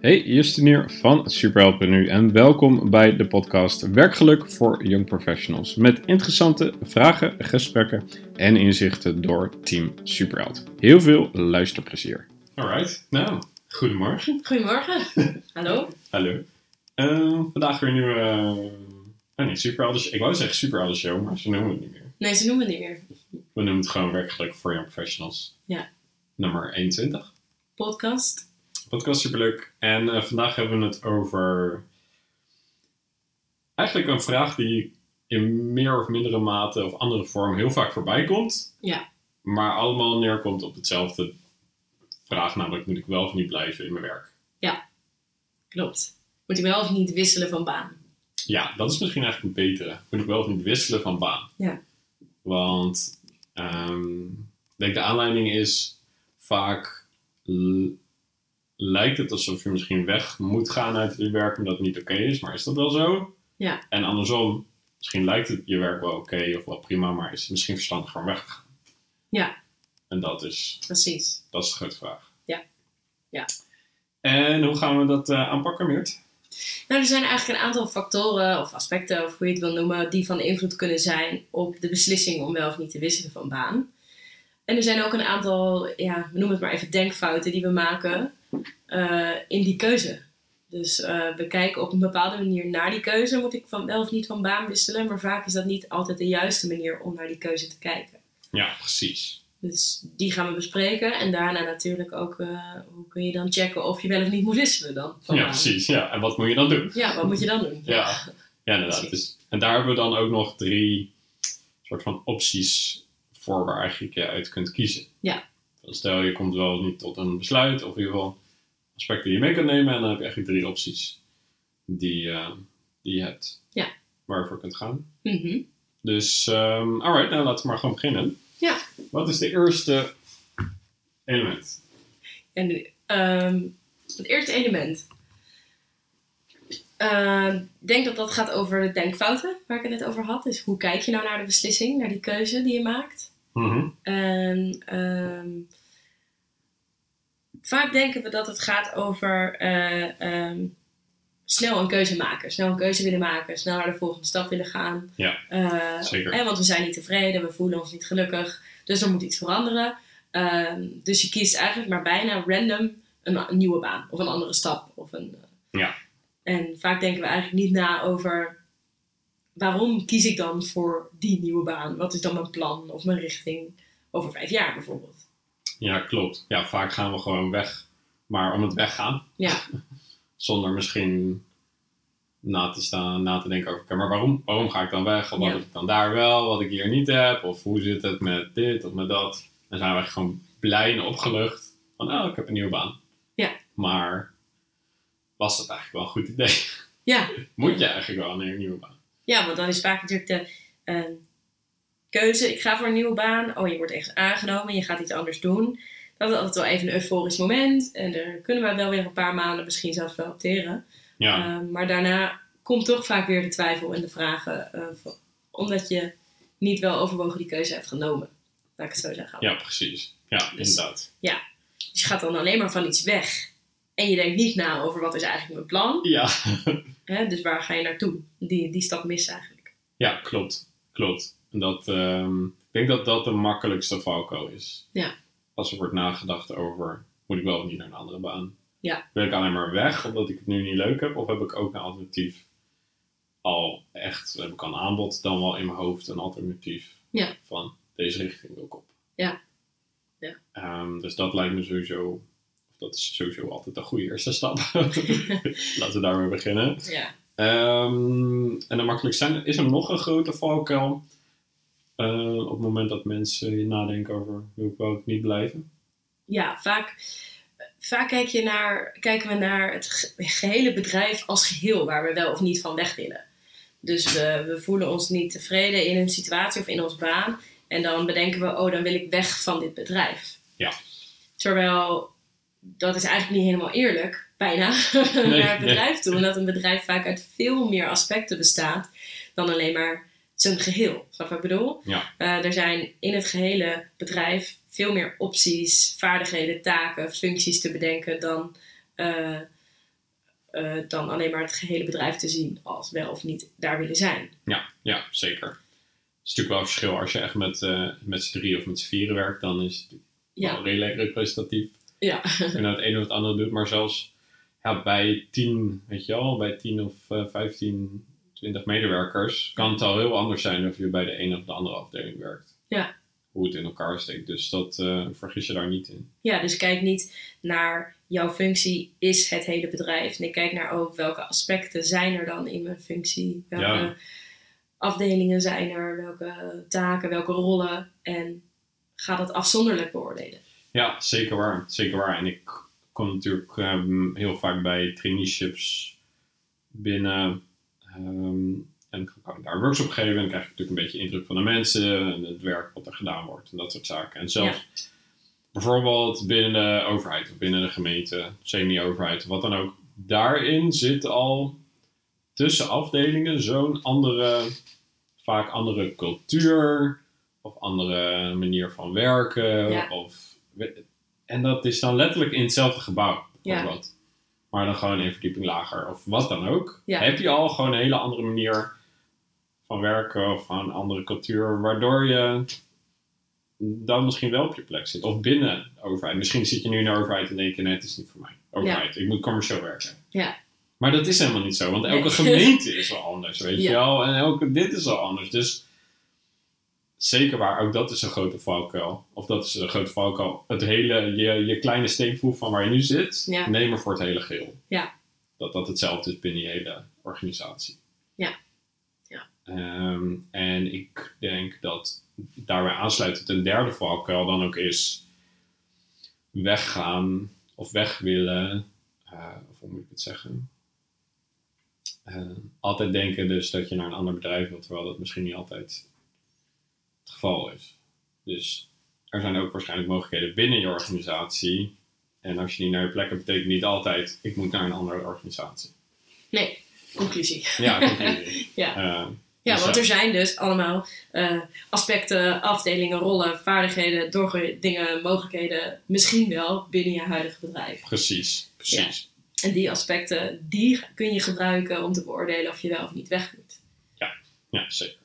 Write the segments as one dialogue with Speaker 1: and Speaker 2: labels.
Speaker 1: Hey, Justin hier van Superhelp.nu en welkom bij de podcast Werkgeluk voor Young Professionals. Met interessante vragen, gesprekken en inzichten door Team Superheld. Heel veel luisterplezier. Alright, nou, goedemorgen.
Speaker 2: Goedemorgen. Hallo.
Speaker 1: Hallo. Eh, vandaag weer een nieuwe, eh, nou niet Superhelden Show, ik wou zeggen Superhelden Show, maar ze noemen het niet meer.
Speaker 2: Nee, ze noemen het niet meer.
Speaker 1: We noemen het gewoon Werkgeluk voor Young Professionals.
Speaker 2: Ja.
Speaker 1: Nummer 21.
Speaker 2: Podcast.
Speaker 1: podcast superleuk. En eh, vandaag hebben we het over eigenlijk een vraag die in meer of mindere mate of andere vorm heel vaak voorbij komt.
Speaker 2: Ja.
Speaker 1: Maar allemaal neerkomt op hetzelfde vraag, namelijk moet ik wel of niet blijven in mijn werk?
Speaker 2: Klopt. Moet ik wel of niet wisselen van baan?
Speaker 1: Ja, dat is misschien eigenlijk een betere. Moet ik wel of niet wisselen van baan?
Speaker 2: Ja.
Speaker 1: Want ehm, ik denk de aanleiding is vaak l- lijkt het alsof je misschien weg moet gaan uit je werk omdat het niet oké is, maar is dat wel zo?
Speaker 2: Ja.
Speaker 1: En andersom, misschien lijkt het je werk wel oké of wel prima, maar is het misschien verstandig om weg te gaan?
Speaker 2: Ja.
Speaker 1: En dat is,
Speaker 2: Precies.
Speaker 1: dat is de grote vraag.
Speaker 2: Ja. Ja.
Speaker 1: En hoe gaan we dat eh, aanpakken, Meert?
Speaker 2: Nou, er zijn eigenlijk een aantal factoren of aspecten, of hoe je het wil noemen, die van invloed kunnen zijn op de beslissing om wel of niet te wisselen van baan. En er zijn ook een aantal, ja, we noemen het maar even denkfouten die we maken eh, in die keuze. Dus eh, we kijken op een bepaalde manier naar die keuze. Moet ik van wel of niet van baan wisselen? Maar vaak is dat niet altijd de juiste manier om naar die keuze te kijken.
Speaker 1: Ja, precies.
Speaker 2: Dus die gaan we bespreken. En daarna natuurlijk ook eh, hoe kun je dan checken of je wel of niet moet wisselen dan. van
Speaker 1: Ja,
Speaker 2: baan.
Speaker 1: precies. Ja. En wat moet je dan doen?
Speaker 2: Ja, wat moet je dan doen?
Speaker 1: Ja, ja inderdaad. Dus, en daar hebben we dan ook nog drie soort van opties voor waar eigenlijk je uit kunt kiezen.
Speaker 2: Ja.
Speaker 1: Dus stel je komt wel niet tot een besluit, of in ieder geval aspecten die je mee kunt nemen, en dan heb je eigenlijk drie opties die, eh, die je hebt.
Speaker 2: Ja.
Speaker 1: Waar je voor kunt gaan.
Speaker 2: Mhm.
Speaker 1: Dus, ehm alright, nou laten we maar gewoon beginnen.
Speaker 2: Ja.
Speaker 1: Wat is de eerste element?
Speaker 2: En ehm, het eerste element. Ehm, ik denk dat dat gaat over de denkfouten waar ik het net over had. Dus hoe kijk je nou naar de beslissing, naar die keuze die je maakt?
Speaker 1: Mhm.
Speaker 2: En ehm, vaak denken we dat het gaat over eh, ehm, snel een keuze maken, snel een keuze willen maken, snel naar de volgende stap willen gaan.
Speaker 1: Ja,
Speaker 2: Eh,
Speaker 1: Zeker.
Speaker 2: Hè, want we zijn niet tevreden, we voelen ons niet gelukkig, dus er moet iets veranderen. Ehm, dus je kiest eigenlijk maar bijna random een, een nieuwe baan of een andere stap. Of een, eh,
Speaker 1: Ja.
Speaker 2: En vaak denken we eigenlijk niet na over waarom kies ik dan voor die nieuwe baan? Wat is dan mijn plan of mijn richting over vijf jaar bijvoorbeeld?
Speaker 1: Ja, klopt. Ja, vaak gaan we gewoon weg, maar om het weggaan.
Speaker 2: Ja.
Speaker 1: Zonder misschien na te staan, na te denken over, oké, maar waarom, waarom ga ik dan weg? Of wat
Speaker 2: Ja.
Speaker 1: heb ik dan daar wel, wat ik hier niet heb? Of hoe zit het met dit of met dat? Dan zijn we echt gewoon blij en opgelucht van, oh, ik heb een nieuwe baan.
Speaker 2: Ja.
Speaker 1: Maar was dat eigenlijk wel een goed idee?
Speaker 2: Ja,
Speaker 1: Moet je eigenlijk wel naar een nieuwe baan?
Speaker 2: Ja, want dan is vaak natuurlijk de ehm, keuze: ik ga voor een nieuwe baan. Oh, je wordt echt aangenomen, je gaat iets anders doen. Dat is altijd wel even een euforisch moment. En daar kunnen we wel weer een paar maanden misschien zelfs wel opteren.
Speaker 1: Ja,
Speaker 2: Ehm, maar daarna komt toch vaak weer de twijfel en de vragen. eh, van- omdat je niet wel overwogen die keuze hebt genomen. Laat ik het zo zeggen.
Speaker 1: ja precies. Ja, inderdaad.
Speaker 2: Dus je gaat dan alleen maar van iets weg. En je denkt niet na over wat is eigenlijk mijn plan.
Speaker 1: Ja.
Speaker 2: Hè? Dus waar ga je naartoe? Die, die stap mis eigenlijk.
Speaker 1: Ja, klopt. Klopt. En dat, ehm, ik denk dat dat de makkelijkste valkuil is.
Speaker 2: Ja.
Speaker 1: Als er wordt nagedacht over, moet ik wel of niet naar een andere baan?
Speaker 2: Ja.
Speaker 1: Wil ik alleen maar weg omdat ik het nu niet leuk heb? Of heb ik ook een alternatief al echt, heb ik al een aanbod dan wel in mijn hoofd een alternatief
Speaker 2: Ja.
Speaker 1: van deze richting wil ik op?
Speaker 2: Ja. Ja.
Speaker 1: Ehm, dus dat lijkt me sowieso, dat is sowieso altijd een goede eerste stap. Laten we daarmee beginnen.
Speaker 2: Ja.
Speaker 1: Ehm, en dan makkelijk zijn. Is er nog een grote valkuil eh, op het moment dat mensen nadenken over wil ik wel of niet blijven?
Speaker 2: ja, vaak, vaak kijk je naar, kijken we naar het ge- gehele bedrijf als geheel, waar we wel of niet van weg willen. Dus we, we voelen ons niet tevreden in een situatie of in ons baan. En dan bedenken we, oh, dan wil ik weg van dit bedrijf.
Speaker 1: Ja.
Speaker 2: Terwijl dat is eigenlijk niet helemaal eerlijk, bijna,
Speaker 1: Nee,
Speaker 2: naar
Speaker 1: nee.
Speaker 2: het bedrijf toe. Omdat een bedrijf vaak uit veel meer aspecten bestaat dan alleen maar zijn geheel. Snap je wat ik bedoel?
Speaker 1: Ja.
Speaker 2: Eh, er zijn in het gehele bedrijf veel meer opties, vaardigheden, taken, functies te bedenken dan eh, eh, dan alleen maar het gehele bedrijf te zien als wel of niet daar willen zijn.
Speaker 1: Ja, ja zeker. Het is natuurlijk wel een verschil als je echt met, eh, met z'n drie of met z'n vieren werkt, dan is het
Speaker 2: Ja.
Speaker 1: wel redelijk representatief.
Speaker 2: Ja.
Speaker 1: Of je nou het ene of het andere doet, maar zelfs ja, bij tien, weet je wel, bij tien of eh, vijftien, twintig medewerkers kan het al heel anders zijn of je bij de ene of de andere afdeling werkt.
Speaker 2: Ja.
Speaker 1: Hoe het in elkaar steekt. Dus dat eh, vergis je daar niet in.
Speaker 2: Ja, dus kijk niet naar jouw functie is het hele bedrijf. Nee, kijk naar ook welke aspecten zijn er dan in mijn functie. Welke
Speaker 1: Ja.
Speaker 2: afdelingen zijn er, welke taken, welke rollen. En ga dat afzonderlijk beoordelen.
Speaker 1: Ja, zeker waar. Zeker waar. En ik kom natuurlijk ehm, heel vaak bij traineeships binnen. ehm, en dan kan ik daar een workshop geven. En dan krijg ik natuurlijk een beetje indruk van de mensen. En het werk wat er gedaan wordt. En dat soort zaken. En zelfs bijvoorbeeld binnen de overheid. Of binnen de gemeente. Semi-overheid. of Wat dan ook. Daarin zit al tussen afdelingen zo'n andere... Vaak andere cultuur of andere manier van werken.
Speaker 2: Ja.
Speaker 1: Of, en dat is dan letterlijk in hetzelfde gebouw.
Speaker 2: Ja.
Speaker 1: bijvoorbeeld. Maar dan gewoon een verdieping lager of wat dan ook.
Speaker 2: Ja.
Speaker 1: Heb je al gewoon een hele andere manier van werken of van een andere cultuur, waardoor je dan misschien wel op je plek zit. Of binnen de overheid. Misschien zit je nu in de overheid en denk je, nee, het is niet voor mij. Overheid, ik moet commercieel werken.
Speaker 2: Ja.
Speaker 1: Maar dat is helemaal niet zo, want elke
Speaker 2: Nee.
Speaker 1: gemeente is wel anders, weet
Speaker 2: Ja.
Speaker 1: je wel. En elke dit is wel anders. Dus Zeker waar, ook dat is een grote valkuil. Of dat is een grote valkuil. Het hele, je, je kleine steekproef van waar je nu zit,
Speaker 2: Ja.
Speaker 1: neem er voor het hele geheel.
Speaker 2: Ja.
Speaker 1: Dat dat hetzelfde is binnen je hele organisatie.
Speaker 2: Ja. Ja.
Speaker 1: Ehm, en ik denk dat daarbij aansluitend een derde valkuil dan ook is weggaan of weg willen, eh, of hoe moet ik het zeggen? Eh, altijd denken dus dat je naar een ander bedrijf wilt, terwijl dat misschien niet altijd het geval is. Dus er zijn ook waarschijnlijk mogelijkheden binnen je organisatie. En als je die naar je plek hebt, betekent niet altijd, ik moet naar een andere organisatie.
Speaker 2: Nee, conclusie.
Speaker 1: Ja, conclusie.
Speaker 2: Ja.
Speaker 1: Eh,
Speaker 2: Ja,
Speaker 1: Dus
Speaker 2: want
Speaker 1: ja.
Speaker 2: er zijn dus allemaal eh, aspecten, afdelingen, rollen, vaardigheden, doorge- dingen, mogelijkheden. Misschien wel binnen je huidige bedrijf.
Speaker 1: precies, precies.
Speaker 2: En die aspecten, die kun je gebruiken om te beoordelen of je wel of niet weg moet.
Speaker 1: Ja, zeker.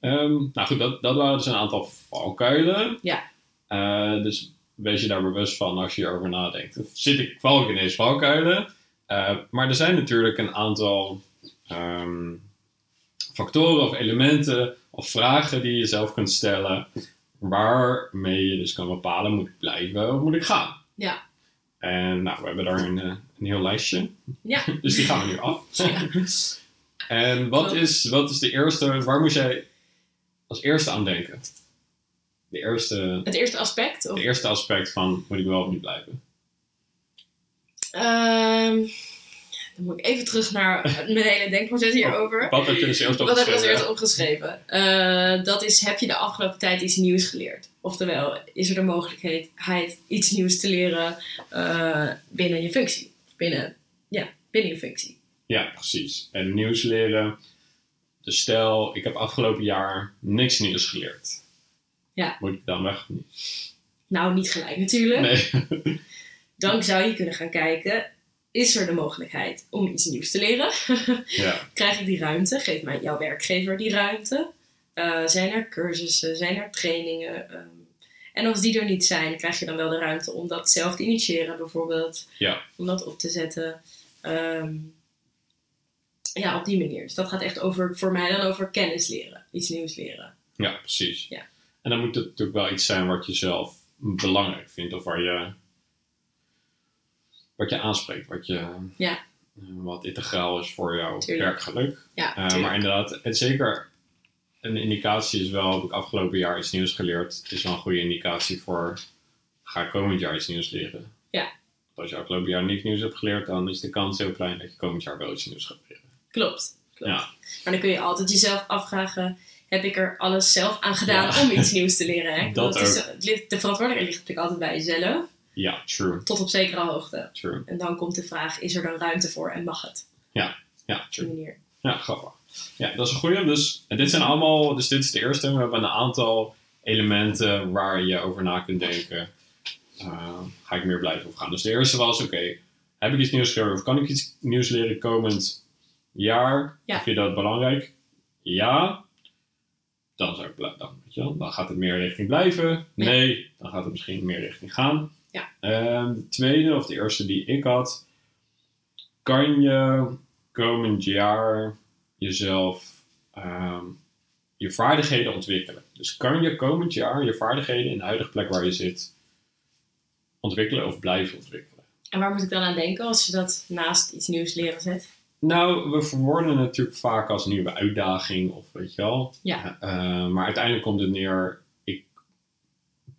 Speaker 1: Ehm, nou goed, dat, dat waren dus een aantal valkuilen.
Speaker 2: Ja.
Speaker 1: Eh, dus wees je daar bewust van als je hierover nadenkt. Of Zit ik, val ik in deze valkuilen? Eh, maar er zijn natuurlijk een aantal ehm, factoren of elementen of vragen die je zelf kunt stellen. Waarmee je dus kan bepalen, moet ik blijven of moet ik gaan?
Speaker 2: Ja.
Speaker 1: En nou, we hebben daar een, eh, een heel lijstje.
Speaker 2: Ja.
Speaker 1: Dus die gaan we nu af. En wat
Speaker 2: Klopt.
Speaker 1: is, wat is de eerste, waar moest jij als eerste aan denken? De eerste,
Speaker 2: Het eerste aspect? Of?
Speaker 1: de eerste aspect van moet ik wel of niet blijven?
Speaker 2: Ehm, dan moet ik even terug naar mijn hele denkproces hierover.
Speaker 1: Wat heb je als eerste
Speaker 2: Wat heb ik
Speaker 1: opgeschreven?
Speaker 2: als eerst opgeschreven? Eh, dat is, heb je de afgelopen tijd iets nieuws geleerd? Oftewel, is er de mogelijkheid iets nieuws te leren eh, binnen je functie? Binnen, ja, binnen je functie.
Speaker 1: Ja, precies. En nieuws leren. Dus stel, ik heb afgelopen jaar niks nieuws geleerd.
Speaker 2: Ja.
Speaker 1: Moet ik dan weg of niet?
Speaker 2: Nou, niet gelijk natuurlijk.
Speaker 1: Nee.
Speaker 2: Dan zou je kunnen gaan kijken, is er de mogelijkheid om iets nieuws te leren?
Speaker 1: ja,
Speaker 2: Krijg ik die ruimte? Geeft mij jouw werkgever die ruimte? Eh, zijn er cursussen? Zijn er trainingen? Ehm, en als die er niet zijn, krijg je dan wel de ruimte om dat zelf te initiëren bijvoorbeeld.
Speaker 1: Ja.
Speaker 2: Om dat op te zetten. Ehm, ja, op die manier. Dus dat gaat echt over, voor mij dan over kennis leren. Iets nieuws leren.
Speaker 1: ja precies.
Speaker 2: Ja.
Speaker 1: En dan moet het natuurlijk wel iets zijn wat je zelf belangrijk vindt. Of waar je, wat je aanspreekt. Wat, je, eh,
Speaker 2: Ja.
Speaker 1: wat integraal is voor jouw
Speaker 2: Tuurlijk.
Speaker 1: werkgeluk.
Speaker 2: Ja,
Speaker 1: Eh,
Speaker 2: tuurlijk.
Speaker 1: maar inderdaad, het zeker een indicatie is wel, heb ik afgelopen jaar iets nieuws geleerd, is wel een goede indicatie voor, ga ik komend jaar iets nieuws leren?
Speaker 2: Ja.
Speaker 1: Want als je afgelopen jaar niks nieuws hebt geleerd, dan is de kans heel klein dat je komend jaar wel iets nieuws gaat leren.
Speaker 2: Klopt. klopt.
Speaker 1: Ja.
Speaker 2: Maar dan kun je altijd jezelf afvragen: heb ik er alles zelf aan gedaan
Speaker 1: Ja.
Speaker 2: om iets nieuws te leren? Hè? Ik bedoel,
Speaker 1: Dat
Speaker 2: het is- het ligt- de verantwoordelijkheid ligt natuurlijk altijd bij jezelf,
Speaker 1: Ja, true,
Speaker 2: tot op zekere hoogte.
Speaker 1: true.
Speaker 2: En dan komt de vraag: is er dan ruimte voor en mag het?
Speaker 1: Ja,
Speaker 2: Op die
Speaker 1: true.
Speaker 2: manier.
Speaker 1: Ja, grappig. Ja, dat is een goede. Dus, en dit zijn allemaal, dus dit is de eerste. We hebben een aantal elementen Ehm, waar je over na kunt denken. Eh, ga ik meer blijven of gaan? Dus de eerste was, oké, heb ik iets nieuws geleerd of kan ik iets nieuws leren komend jaar?
Speaker 2: Ja.
Speaker 1: Vind je dat belangrijk? Ja. Dan, zou ik blij- dan, weet je wel, dan gaat het meer richting blijven.
Speaker 2: Ja.
Speaker 1: Nee, dan gaat het misschien meer richting gaan.
Speaker 2: Ja.
Speaker 1: Ehm, de tweede of de eerste die ik had. Kan je komend jaar jezelf ehm, je vaardigheden ontwikkelen? Dus kan je komend jaar je vaardigheden in de huidige plek waar je zit ontwikkelen of blijven ontwikkelen?
Speaker 2: En waar moet ik dan aan denken als je dat naast iets nieuws leren zet?
Speaker 1: Nou, we verwoorden het natuurlijk vaak als nieuwe uitdaging of weet je wel.
Speaker 2: Ja.
Speaker 1: Eh, maar uiteindelijk komt het neer, ik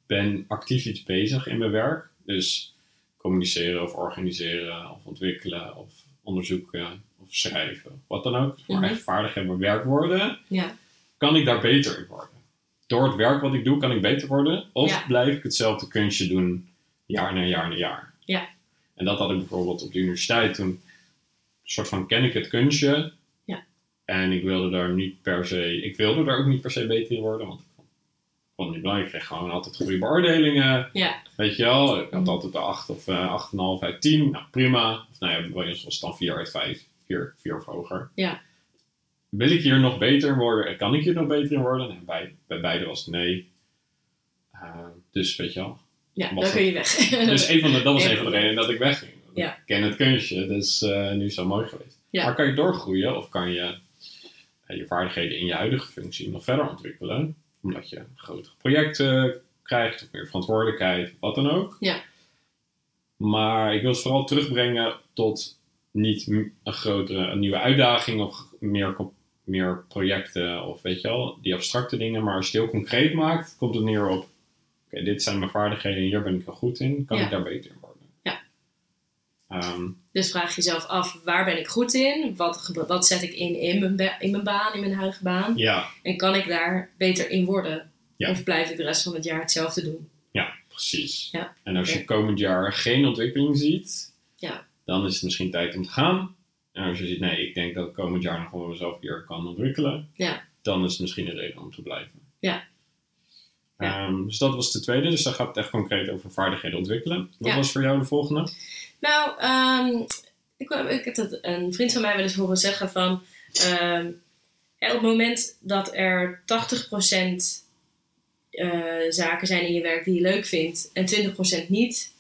Speaker 1: ben actief iets bezig in mijn werk. Dus communiceren of organiseren of ontwikkelen of onderzoeken of schrijven, wat dan ook. Maar
Speaker 2: Mhm.
Speaker 1: echt vaardig in mijn werk worden,
Speaker 2: Ja.
Speaker 1: kan ik daar beter in worden. Door het werk wat ik doe, kan ik beter worden. Of
Speaker 2: Ja.
Speaker 1: blijf ik hetzelfde kunstje doen, jaar na jaar na jaar.
Speaker 2: Ja.
Speaker 1: En dat had ik bijvoorbeeld op de universiteit toen soort van ken ik het kunstje.
Speaker 2: Ja.
Speaker 1: En ik wilde daar niet per se, ik wilde daar ook niet per se beter in worden, want ik vond- vond het niet belangrijk. Ik kreeg gewoon altijd goede beoordelingen.
Speaker 2: Ja. Mhm.
Speaker 1: Weet je wel, ik had altijd de 8 of eh 8,5 uit 10. Nou prima. Of nou ja, bij ons was het dan 4 uit 5, 4, 4 of hoger.
Speaker 2: Ja.
Speaker 1: Wil ik hier nog beter in worden? En Kan ik hier nog beter in worden? En bij, bij beide was het nee. Eh, dus weet je wel,
Speaker 2: Ja,
Speaker 1: Was
Speaker 2: dan kun je weg.
Speaker 1: dus een van de, dat was
Speaker 2: Ja.
Speaker 1: een van de redenen dat ik wegging.
Speaker 2: Ja.
Speaker 1: Ik ken het kunstje, dus eh, nu is dat mooi geweest.
Speaker 2: Ja.
Speaker 1: Maar kan je doorgroeien of kan je eh, je vaardigheden in je huidige functie nog verder ontwikkelen? Omdat je grotere projecten krijgt of meer verantwoordelijkheid, wat dan ook.
Speaker 2: Ja.
Speaker 1: Maar ik wil het vooral terugbrengen tot niet m- een grotere, een nieuwe uitdaging of meer, co- meer projecten of weet je wel, die abstracte dingen. Maar als je het heel concreet maakt, komt het neer op oké, dit zijn mijn vaardigheden, hier ben ik heel goed in, kan
Speaker 2: Ja.
Speaker 1: ik daar beter in worden?
Speaker 2: Ja.
Speaker 1: Ehm,
Speaker 2: Dus vraag jezelf af, waar ben ik goed in? Wat, gebe- wat zet ik in in mijn, ba- in mijn baan, in mijn huidige baan?
Speaker 1: ja,
Speaker 2: En kan ik daar beter in worden?
Speaker 1: Ja.
Speaker 2: Of blijf ik de rest van het jaar hetzelfde doen?
Speaker 1: precies.
Speaker 2: Ja.
Speaker 1: En als je
Speaker 2: Ja.
Speaker 1: komend jaar geen ontwikkeling ziet,
Speaker 2: Ja.
Speaker 1: dan is het misschien tijd om te gaan. En als je ziet, nee, ik denk dat ik komend jaar nog wel mezelf hier kan ontwikkelen,
Speaker 2: Ja.
Speaker 1: dan is het misschien een reden om te blijven.
Speaker 2: Ja. Ja.
Speaker 1: Ehm, dus dat was de tweede, dus dan gaat het echt concreet over vaardigheden ontwikkelen. Wat
Speaker 2: Ja.
Speaker 1: was voor jou de volgende?
Speaker 2: Nou, ehm, ik, wou- ik heb dat een vriend van mij wel eens horen zeggen van... ehm, hè, op het moment dat er 80% eh, zaken zijn in je werk die je leuk vindt en 20% niet...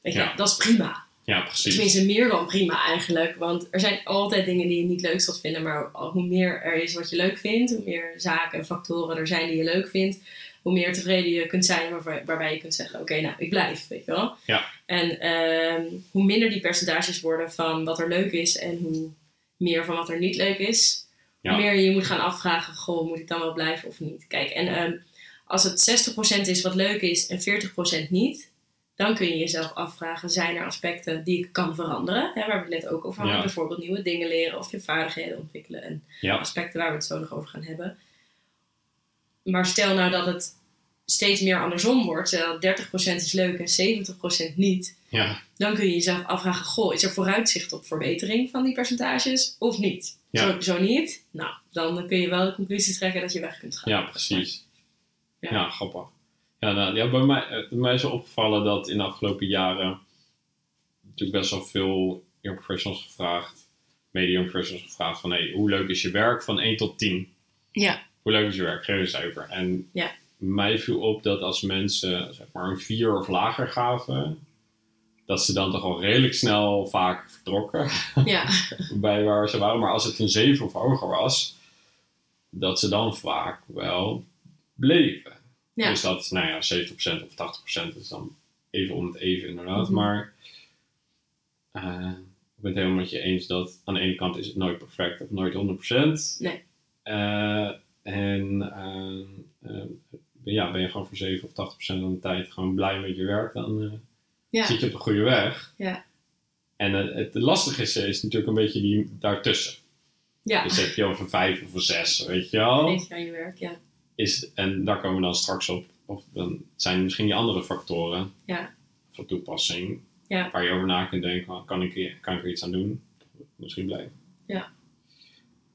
Speaker 2: Weet je,
Speaker 1: Ja.
Speaker 2: dat is prima.
Speaker 1: Ja, precies.
Speaker 2: Tenminste, meer dan prima eigenlijk. Want er zijn altijd dingen die je niet leuk zult vinden. Maar hoe meer er is wat je leuk vindt, hoe meer zaken en factoren er zijn die je leuk vindt, hoe meer tevreden je kunt zijn waarvan- waarbij je kunt zeggen: Oké, nou, ik blijf. Weet je wel?
Speaker 1: Ja.
Speaker 2: En ehm, hoe minder die percentages worden van wat er leuk is en hoe meer van wat er niet leuk is,
Speaker 1: Ja.
Speaker 2: hoe meer je je moet gaan afvragen: Goh, moet ik dan wel blijven of niet? Kijk, en ehm, als het 60% is wat leuk is en 40% niet dan kun je jezelf afvragen, zijn er aspecten die ik kan veranderen? Hè, waar we het net ook over hadden,
Speaker 1: Ja.
Speaker 2: bijvoorbeeld nieuwe dingen leren of je vaardigheden ontwikkelen en
Speaker 1: Ja.
Speaker 2: aspecten waar we het zo nog over gaan hebben. Maar stel nou dat het steeds meer andersom wordt, stel dat 30% is leuk en 70% niet,
Speaker 1: Ja,
Speaker 2: dan kun je jezelf afvragen, goh, is er vooruitzicht op verbetering van die percentages of niet?
Speaker 1: Ja.
Speaker 2: Zo, zo niet, nou, dan kun je wel de conclusie trekken dat je weg kunt gaan.
Speaker 1: ja precies. Ja,
Speaker 2: Ja.
Speaker 1: grappig. Ja, nou, ja, bij, mij, eh, bij mij is opgevallen dat in de afgelopen jaren natuurlijk best wel veel young professionals gevraagd, medium professionals gevraagd van hey, hoe leuk is je werk van 1 tot 10?
Speaker 2: Ja.
Speaker 1: Hoe leuk is je werk? Geef een cijfer. En
Speaker 2: Ja.
Speaker 1: mij viel op dat als mensen zeg maar een 4 of lager gaven, dat ze dan toch al redelijk snel vaak vertrokken
Speaker 2: Ja,
Speaker 1: bij waar ze waren. Maar als het een 7 of hoger was, dat ze dan vaak wel bleven.
Speaker 2: Ja.
Speaker 1: Dus dat, nou ja, 70% of 80% is dan even om het even inderdaad.
Speaker 2: Mhm.
Speaker 1: Maar eh, ik ben het helemaal met je eens dat aan de ene kant is het nooit perfect of nooit 100%.
Speaker 2: Nee.
Speaker 1: Eh, en eh, eh, ja, ben je gewoon voor 7 of 80% van de tijd gewoon blij met je werk, dan eh,
Speaker 2: ja,
Speaker 1: zit je op de goede weg.
Speaker 2: Ja.
Speaker 1: En eh, het lastige is, is natuurlijk een beetje die daartussen.
Speaker 2: ja.
Speaker 1: Dus heb je over vijf of een zes, weet je
Speaker 2: Denk
Speaker 1: wel.
Speaker 2: je aan je werk, ja.
Speaker 1: Is, en daar komen we dan straks op. Of dan zijn er misschien die andere factoren
Speaker 2: Ja.
Speaker 1: van toepassing.
Speaker 2: Ja.
Speaker 1: Waar je over na kunt denken, van, kan ik, hier- kan ik er iets aan doen? Misschien blijven.
Speaker 2: Ja.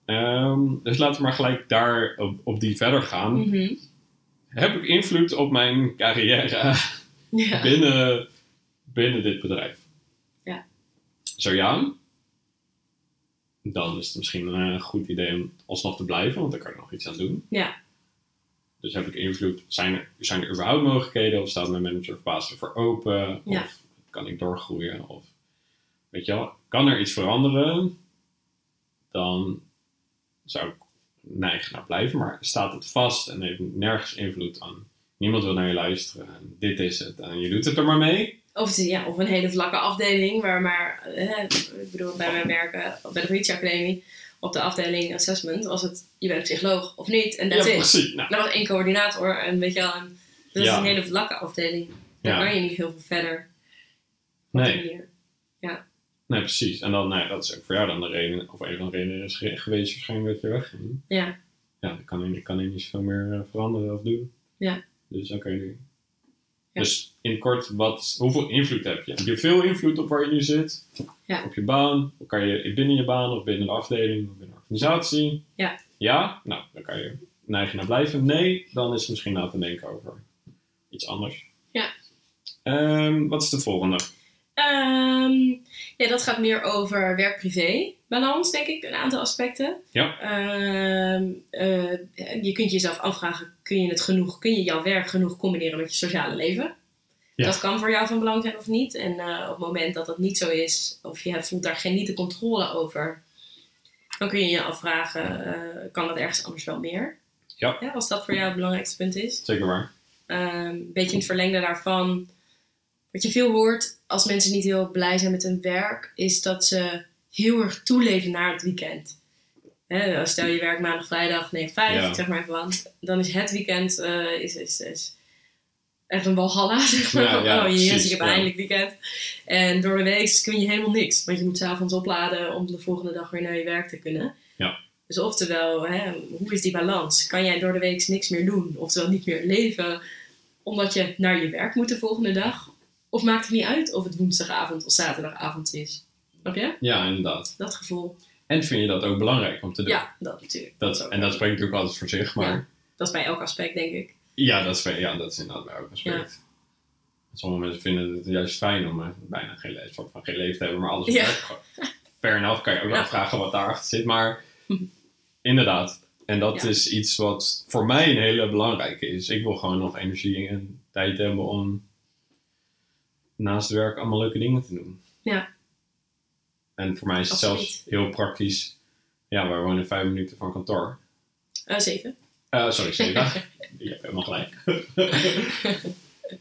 Speaker 1: Ehm, dus laten we maar gelijk daar op, op die verder gaan.
Speaker 2: Mhm.
Speaker 1: Heb ik invloed op mijn carrière
Speaker 2: ja.
Speaker 1: binnen, binnen dit bedrijf?
Speaker 2: Ja.
Speaker 1: Zo ja, dan is het misschien een eh, goed idee om alsnog te blijven, want daar kan je nog iets aan doen.
Speaker 2: Ja.
Speaker 1: Dus heb ik invloed, zijn er, zijn er überhaupt mogelijkheden of staat mijn manager of baas ervoor open?
Speaker 2: Ja.
Speaker 1: Of kan ik doorgroeien? Of weet je wel, kan er iets veranderen? Dan zou ik neigen naar blijven, maar staat het vast en heeft nergens invloed aan. Niemand wil naar je luisteren. en Dit is het. En je doet het er maar mee.
Speaker 2: Of, het- ja, of een hele vlakke afdeling, waar maar, eh, ik bedoel, bij mijn werken bij de politieacademie, op de afdeling assessment, was het, je bent psycholoog of niet, en dat
Speaker 1: ja,
Speaker 2: is.
Speaker 1: precies. Nou,
Speaker 2: Er was één coördinator en weet je wel, en dat
Speaker 1: Ja.
Speaker 2: is een hele vlakke afdeling. Daar
Speaker 1: ja.
Speaker 2: kan je niet heel veel verder. op die
Speaker 1: Nee,
Speaker 2: manier.
Speaker 1: nee, precies. En dan, nou, ja, dat is ook voor jou dan de reden, of een van de redenen is ge- geweest waarschijnlijk dat je wegging.
Speaker 2: Ja.
Speaker 1: Ja, dan kan je, kan je niet zoveel meer eh, veranderen of doen.
Speaker 2: Ja.
Speaker 1: Dus oké nu.
Speaker 2: Ja.
Speaker 1: Dus in kort, wat, is- hoeveel invloed heb je? Heb je veel invloed op waar je nu zit?
Speaker 2: Ja.
Speaker 1: Op je baan? Of Kan je binnen je baan of binnen de afdeling of binnen de organisatie?
Speaker 2: Ja.
Speaker 1: Ja? Nou, dan kan je neigen naar blijven. Nee, dan is het misschien na te denken over iets anders.
Speaker 2: Ja.
Speaker 1: Ehm, wat is de volgende?
Speaker 2: Ehm, ja, dat gaat meer over werk-privé-balans, denk ik, een aantal aspecten.
Speaker 1: Ja.
Speaker 2: Ehm, eh, je kunt jezelf afvragen, kun je, het genoeg, kun je jouw werk genoeg combineren met je sociale leven?
Speaker 1: Ja.
Speaker 2: Dat kan voor jou van belang zijn of niet. En eh, op het moment dat dat niet zo is, of je hebt- voelt daar geen niet de controle over, dan kun je je afvragen, eh, kan dat ergens anders wel meer?
Speaker 1: Ja.
Speaker 2: Als dat voor jou het belangrijkste punt is.
Speaker 1: Zeker waar.
Speaker 2: Ehm, een beetje in het verlengde daarvan. Wat je veel hoort als mensen niet heel blij zijn met hun werk, is dat ze heel erg toeleven naar het weekend. Hè, stel je werkt maandag, vrijdag, 9, 5,
Speaker 1: Ja.
Speaker 2: ik zeg maar even wat. Dan is het weekend eh, is, is, is echt een walhalla. Zeg maar.
Speaker 1: Ja,
Speaker 2: Van,
Speaker 1: ja,
Speaker 2: oh yes,
Speaker 1: precies,
Speaker 2: ik heb
Speaker 1: ja.
Speaker 2: eindelijk weekend. En door de week kun je helemaal niks. Want je moet s'avonds opladen om de volgende dag weer naar je werk te kunnen.
Speaker 1: Ja.
Speaker 2: Dus oftewel, hè, hoe is die balans? Kan jij door de week niks meer doen? Oftewel niet meer leven omdat je naar je werk moet de volgende dag? Of maakt het niet uit of het woensdagavond of zaterdagavond is? Snap je?
Speaker 1: Ja, inderdaad.
Speaker 2: Dat gevoel.
Speaker 1: En vind je dat ook belangrijk om te doen?
Speaker 2: Ja, dat natuurlijk.
Speaker 1: Dat, en dat spreekt natuurlijk altijd voor zich, maar
Speaker 2: Dat is bij elk aspect, denk ik.
Speaker 1: ja, dat, is, bij- ja, dat is inderdaad bij elk aspect. Sommige mensen vinden het juist fijn om eh, bijna geen, le- soort van geen leven te hebben, maar alles
Speaker 2: Ja.
Speaker 1: werkt gewoon. Fair enough, kan je ook
Speaker 2: Ja.
Speaker 1: afvragen wat daarachter zit, maar
Speaker 2: Hm.
Speaker 1: inderdaad. En dat
Speaker 2: Ja.
Speaker 1: is iets wat voor mij een hele belangrijke is. Ik wil gewoon nog energie en tijd hebben om naast het werk allemaal leuke dingen te doen.
Speaker 2: Ja.
Speaker 1: En voor mij is het zelfs
Speaker 2: Absoluut.
Speaker 1: heel praktisch. Ja, we wonen vijf minuten van kantoor.
Speaker 2: Eh, zeven.
Speaker 1: Eh, sorry, Seda. Je hebt helemaal gelijk.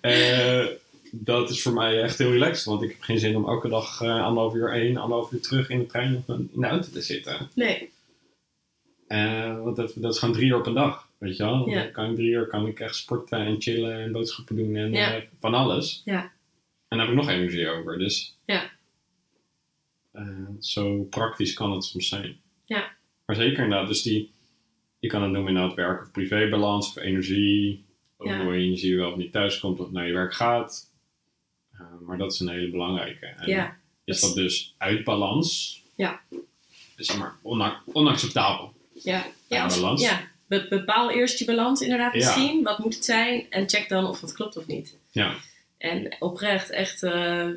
Speaker 1: Eh, dat is voor mij echt heel relaxed, want ik heb geen zin om elke dag eh, anderhalf uur heen, anderhalf uur terug in de trein of in de auto te zitten.
Speaker 2: Nee.
Speaker 1: Eh, want dat, dat is gewoon drie uur op een dag, weet je wel.
Speaker 2: Ja.
Speaker 1: Dan kan ik drie uur kan ik echt sporten en chillen en boodschappen doen en
Speaker 2: Ja.
Speaker 1: eh, van alles.
Speaker 2: Ja.
Speaker 1: En daar heb ik nog energie over, dus
Speaker 2: Ja.
Speaker 1: Eh, zo praktisch kan het soms zijn.
Speaker 2: Ja.
Speaker 1: Maar zeker inderdaad, dus die, je kan het noemen inderdaad werk of privébalans of energie, of
Speaker 2: Ja.
Speaker 1: hoe je energie wel of niet thuis komt of naar je werk gaat. Eh, maar dat is een hele belangrijke. En
Speaker 2: Ja.
Speaker 1: Is dat dus uit balans?
Speaker 2: Ja.
Speaker 1: Is zeg maar ona- onacceptabel.
Speaker 2: Ja.
Speaker 1: Ja,
Speaker 2: als-
Speaker 1: balans.
Speaker 2: Ja. Be- bepaal eerst je balans inderdaad
Speaker 1: Ja.
Speaker 2: misschien. Wat moet het zijn? En check dan of dat klopt of niet.
Speaker 1: Ja.
Speaker 2: En oprecht, echt... eh,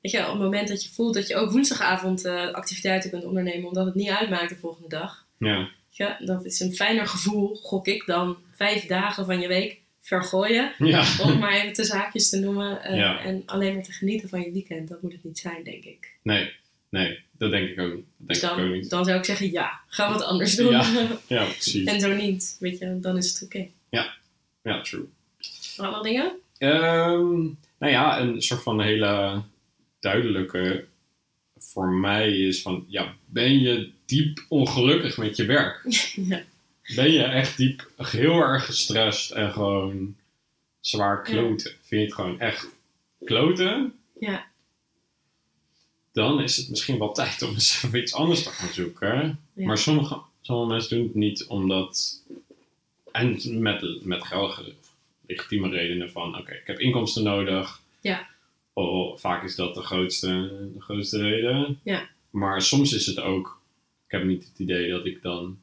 Speaker 2: weet je, op het moment dat je voelt dat je ook woensdagavond eh, activiteiten kunt ondernemen... omdat het niet uitmaakt de volgende dag...
Speaker 1: Ja,
Speaker 2: Ja, dat is een fijner gevoel, gok ik, dan vijf dagen van je week vergooien.
Speaker 1: ja.
Speaker 2: Om het maar even de zaakjes te noemen. eh,
Speaker 1: Ja.
Speaker 2: En alleen maar te genieten van je weekend. Dat moet het niet zijn, denk ik.
Speaker 1: Nee, nee, dat denk ik ook niet. Dat denk
Speaker 2: Dus
Speaker 1: ik ook
Speaker 2: dan,
Speaker 1: niet.
Speaker 2: dan zou ik zeggen, ja, ga wat anders doen.
Speaker 1: Ja. Ja, precies.
Speaker 2: en zo niet, weet je, dan is het oké.
Speaker 1: Ja, true.
Speaker 2: Nog wel dingen?
Speaker 1: Ehm, nou ja, een soort van hele duidelijke voor mij is van, ja, ben je diep ongelukkig met je werk?
Speaker 2: ja.
Speaker 1: Ben je echt diep, heel erg gestrest en gewoon zwaar kloten? Vind je het gewoon echt kloten?
Speaker 2: Ja.
Speaker 1: Dan is het misschien wel tijd om eens even iets anders te gaan zoeken.
Speaker 2: Ja.
Speaker 1: Maar sommige, sommige mensen doen het niet omdat... En met, met geldige, legitieme redenen van... Oké, ik heb inkomsten nodig.
Speaker 2: Ja.
Speaker 1: Oh, vaak is dat de grootste, de grootste reden.
Speaker 2: Ja.
Speaker 1: Maar soms is het ook... Ik heb niet het idee dat ik dan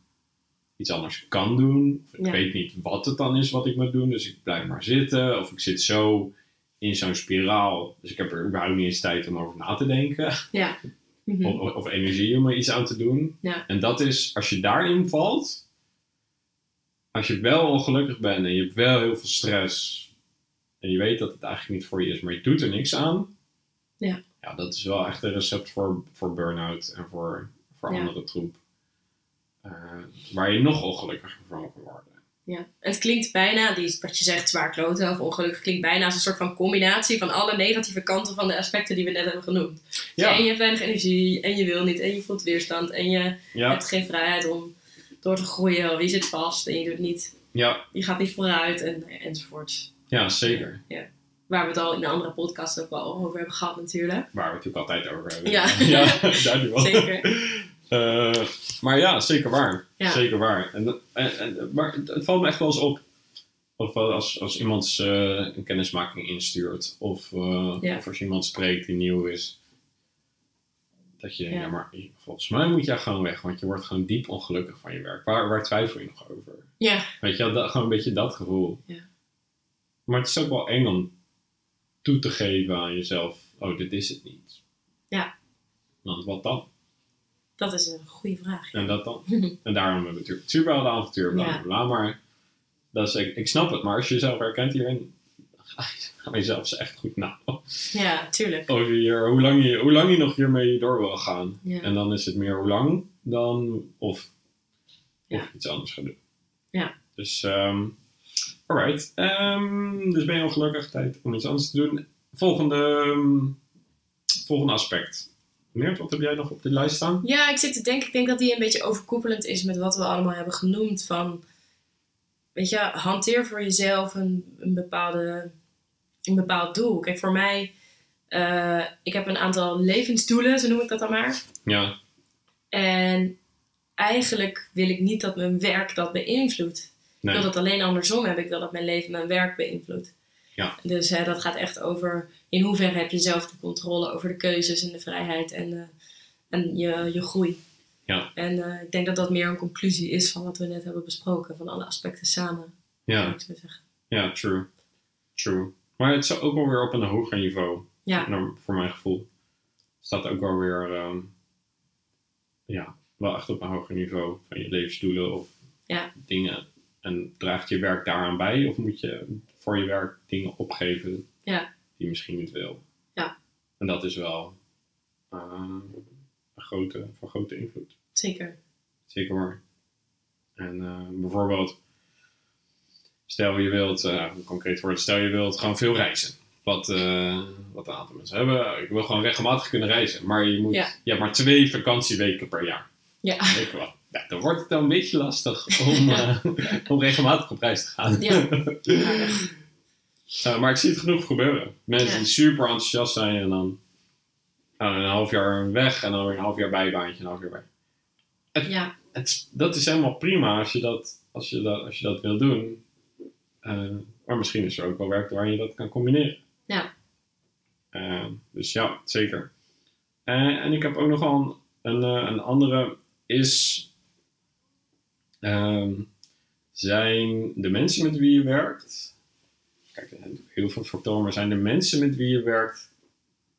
Speaker 1: iets anders kan doen. Ik
Speaker 2: Ja.
Speaker 1: weet niet wat het dan is wat ik moet doen, dus ik blijf maar zitten. Of ik zit zo in zo'n spiraal, dus ik heb er überhaupt niet eens tijd om over na te denken.
Speaker 2: Ja. Mhm.
Speaker 1: of, of energie om er iets aan te doen.
Speaker 2: Ja.
Speaker 1: En dat is, als je daarin valt, als je wel ongelukkig bent en je hebt wel heel veel stress en je weet dat het eigenlijk niet voor je is, maar je doet er niks aan.
Speaker 2: Ja.
Speaker 1: Ja, dat is wel echt een recept voor, voor burn-out en voor, voor
Speaker 2: Ja.
Speaker 1: andere troep. Eh, waar je nog ongelukkiger van kan worden.
Speaker 2: Ja. Het klinkt bijna, die is wat je zegt, zwaar kloten of ongelukkig, klinkt bijna als een soort van combinatie van alle negatieve kanten van de aspecten die we net hebben genoemd. Dus
Speaker 1: Ja.
Speaker 2: en je hebt weinig energie, en je wil niet, en je voelt weerstand, en je
Speaker 1: Ja,
Speaker 2: hebt geen vrijheid om door te groeien, of je zit vast, en je doet niet,
Speaker 1: ja,
Speaker 2: je gaat niet vooruit, en, enzovoort.
Speaker 1: ja zeker.
Speaker 2: Waar we het al in de andere podcast ook wel over hebben gehad natuurlijk.
Speaker 1: Waar we het natuurlijk altijd over hebben.
Speaker 2: Ja.
Speaker 1: daar nu wel.
Speaker 2: Zeker.
Speaker 1: Eh, maar ja, zeker waar.
Speaker 2: Ja.
Speaker 1: Zeker waar. En, en, en- maar het, het valt me echt wel eens op. Of wel als, als iemand eh, een kennismaking instuurt. Of, eh,
Speaker 2: Ja.
Speaker 1: of als iemand spreekt die nieuw is. Dat je denkt,
Speaker 2: Ja.
Speaker 1: ja, maar volgens mij moet jij gewoon weg. Want je wordt gewoon diep ongelukkig van je werk. Waar, waar twijfel je nog over?
Speaker 2: Ja.
Speaker 1: Weet je, wel, dat, gewoon een beetje dat gevoel.
Speaker 2: Ja.
Speaker 1: Maar het is ook wel eng om toe te geven aan jezelf. Oh, dit is het niet.
Speaker 2: Ja.
Speaker 1: Want wat dan?
Speaker 2: Dat is een goede vraag.
Speaker 1: En dat dan? En daarom hebben we natuurlijk Superheld avontuur, bla bla
Speaker 2: Ja.
Speaker 1: bla. Maar dat is, ik, ik snap het, maar als je jezelf herkent hierin, ga jezelf eens echt goed na.
Speaker 2: Ja, tuurlijk.
Speaker 1: Over hier, hoe, lang je, hoe lang je nog hiermee door wil gaan.
Speaker 2: Ja.
Speaker 1: En dan is het meer hoe lang dan of,
Speaker 2: Ja.
Speaker 1: of iets anders gaan doen.
Speaker 2: Ja.
Speaker 1: Dus, ehm alright. Ehm, dus ben je ongelukkig, tijd om iets anders te doen. Volgende, ehm, volgende aspect. Meert, wat heb jij nog op de lijst staan?
Speaker 2: Ja, ik zit te denken, ik denk dat die een beetje overkoepelend is met wat we allemaal hebben genoemd. Van, weet je, hanteer voor jezelf een, een, bepaalde, een bepaald doel. Kijk, voor mij, eh, ik heb een aantal levensdoelen, zo noem ik dat dan maar.
Speaker 1: Ja,
Speaker 2: En eigenlijk wil ik niet dat mijn werk dat beïnvloedt.
Speaker 1: nee.
Speaker 2: Ik wil dat alleen andersom hebben. Ik wil dat mijn leven mijn werk beïnvloedt.
Speaker 1: Ja.
Speaker 2: Dus hè, dat gaat echt over in hoeverre heb je zelf de controle over de keuzes en de vrijheid en, eh, en je, je groei.
Speaker 1: Ja.
Speaker 2: En eh, ik denk dat dat meer een conclusie is van wat we net hebben besproken, van alle aspecten samen.
Speaker 1: ja.
Speaker 2: zou ik zo zeggen.
Speaker 1: Ja, true. True. Maar het is ook wel weer op een hoger niveau,
Speaker 2: Ja.
Speaker 1: naar- voor mijn gevoel. Staat ook wel weer, ehm, ja, wel echt op een hoger niveau van je levensdoelen of
Speaker 2: Ja.
Speaker 1: dingen. En draagt je werk daaraan bij of moet je voor je werk dingen opgeven
Speaker 2: Ja.
Speaker 1: die je misschien niet wil?
Speaker 2: Ja.
Speaker 1: En dat is wel ehm, een grote, van grote invloed.
Speaker 2: Zeker.
Speaker 1: Zeker waar. En eh, bijvoorbeeld, stel je wilt, eh, hoe concreet worden, stel je wilt gewoon veel reizen. Wat, eh, wat een aantal mensen hebben. Ik wil gewoon regelmatig kunnen reizen. Maar je, moet,
Speaker 2: Ja.
Speaker 1: je hebt maar twee vakantieweken per jaar.
Speaker 2: Ja.
Speaker 1: Weet je wat? Ja, dan wordt het dan een beetje lastig om, eh, om regelmatig op reis te gaan.
Speaker 2: Ja.
Speaker 1: Eh, maar ik zie het genoeg gebeuren. Mensen
Speaker 2: Ja.
Speaker 1: die super enthousiast zijn en dan eh, een half jaar weg en dan weer een half jaar bijbaantje, een half jaar bij.
Speaker 2: Ja.
Speaker 1: het, is- dat is helemaal prima als je dat, als je dat, als je dat wil doen. Eh, maar misschien is er ook wel werk waarin je dat kan combineren.
Speaker 2: Ja.
Speaker 1: Eh, dus ja, zeker. Eh, en ik heb ook nog wel een, een, eh, een andere is ehm, zijn de mensen met wie je werkt. Kijk, er zijn natuurlijk heel veel factoren, maar zijn de mensen met wie je werkt,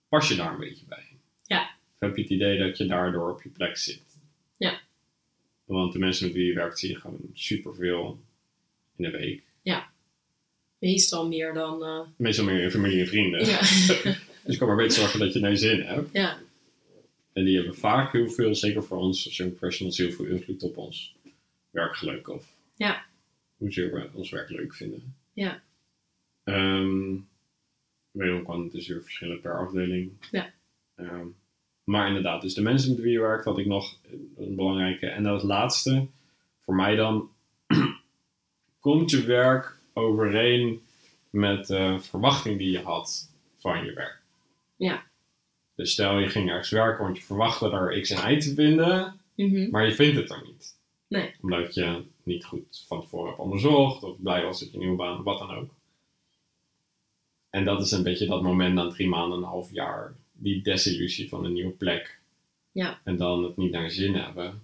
Speaker 1: pas je daar een beetje bij?
Speaker 2: Ja.
Speaker 1: Of heb je het idee dat je daardoor op je plek zit? Want de mensen met wie je werkt zie je gewoon superveel in de week.
Speaker 2: Meestal meer dan. eh,
Speaker 1: Meestal meer je familie en vrienden.
Speaker 2: ja.
Speaker 1: Dus je kan maar beter zorgen dat je naar je zin hebt.
Speaker 2: ja.
Speaker 1: En die hebben vaak heel veel, zeker voor ons als young professionals, heel veel invloed op ons werkgeluk. Of
Speaker 2: Ja.
Speaker 1: hoezeer we ons werk leuk vinden.
Speaker 2: Ja.
Speaker 1: Ehm, wederom kan het dus weer verschillen per afdeling.
Speaker 2: Ja.
Speaker 1: Ehm, maar inderdaad, dus de mensen met wie je werkt had ik nog een belangrijke. En als laatste, voor mij dan, komt je werk overeen met de verwachting die je had van je werk.
Speaker 2: Ja.
Speaker 1: Dus stel je ging ergens werken, want je verwachtte daar X en Y te vinden,
Speaker 2: Mhm.
Speaker 1: maar je vindt het er niet.
Speaker 2: Nee.
Speaker 1: Omdat je niet goed van tevoren hebt onderzocht, of blij was dat je een nieuwe baan, of wat dan ook. En dat is een beetje dat moment na drie maanden, een half jaar, die desillusie van een nieuwe plek.
Speaker 2: Ja.
Speaker 1: En dan het niet naar je zin hebben.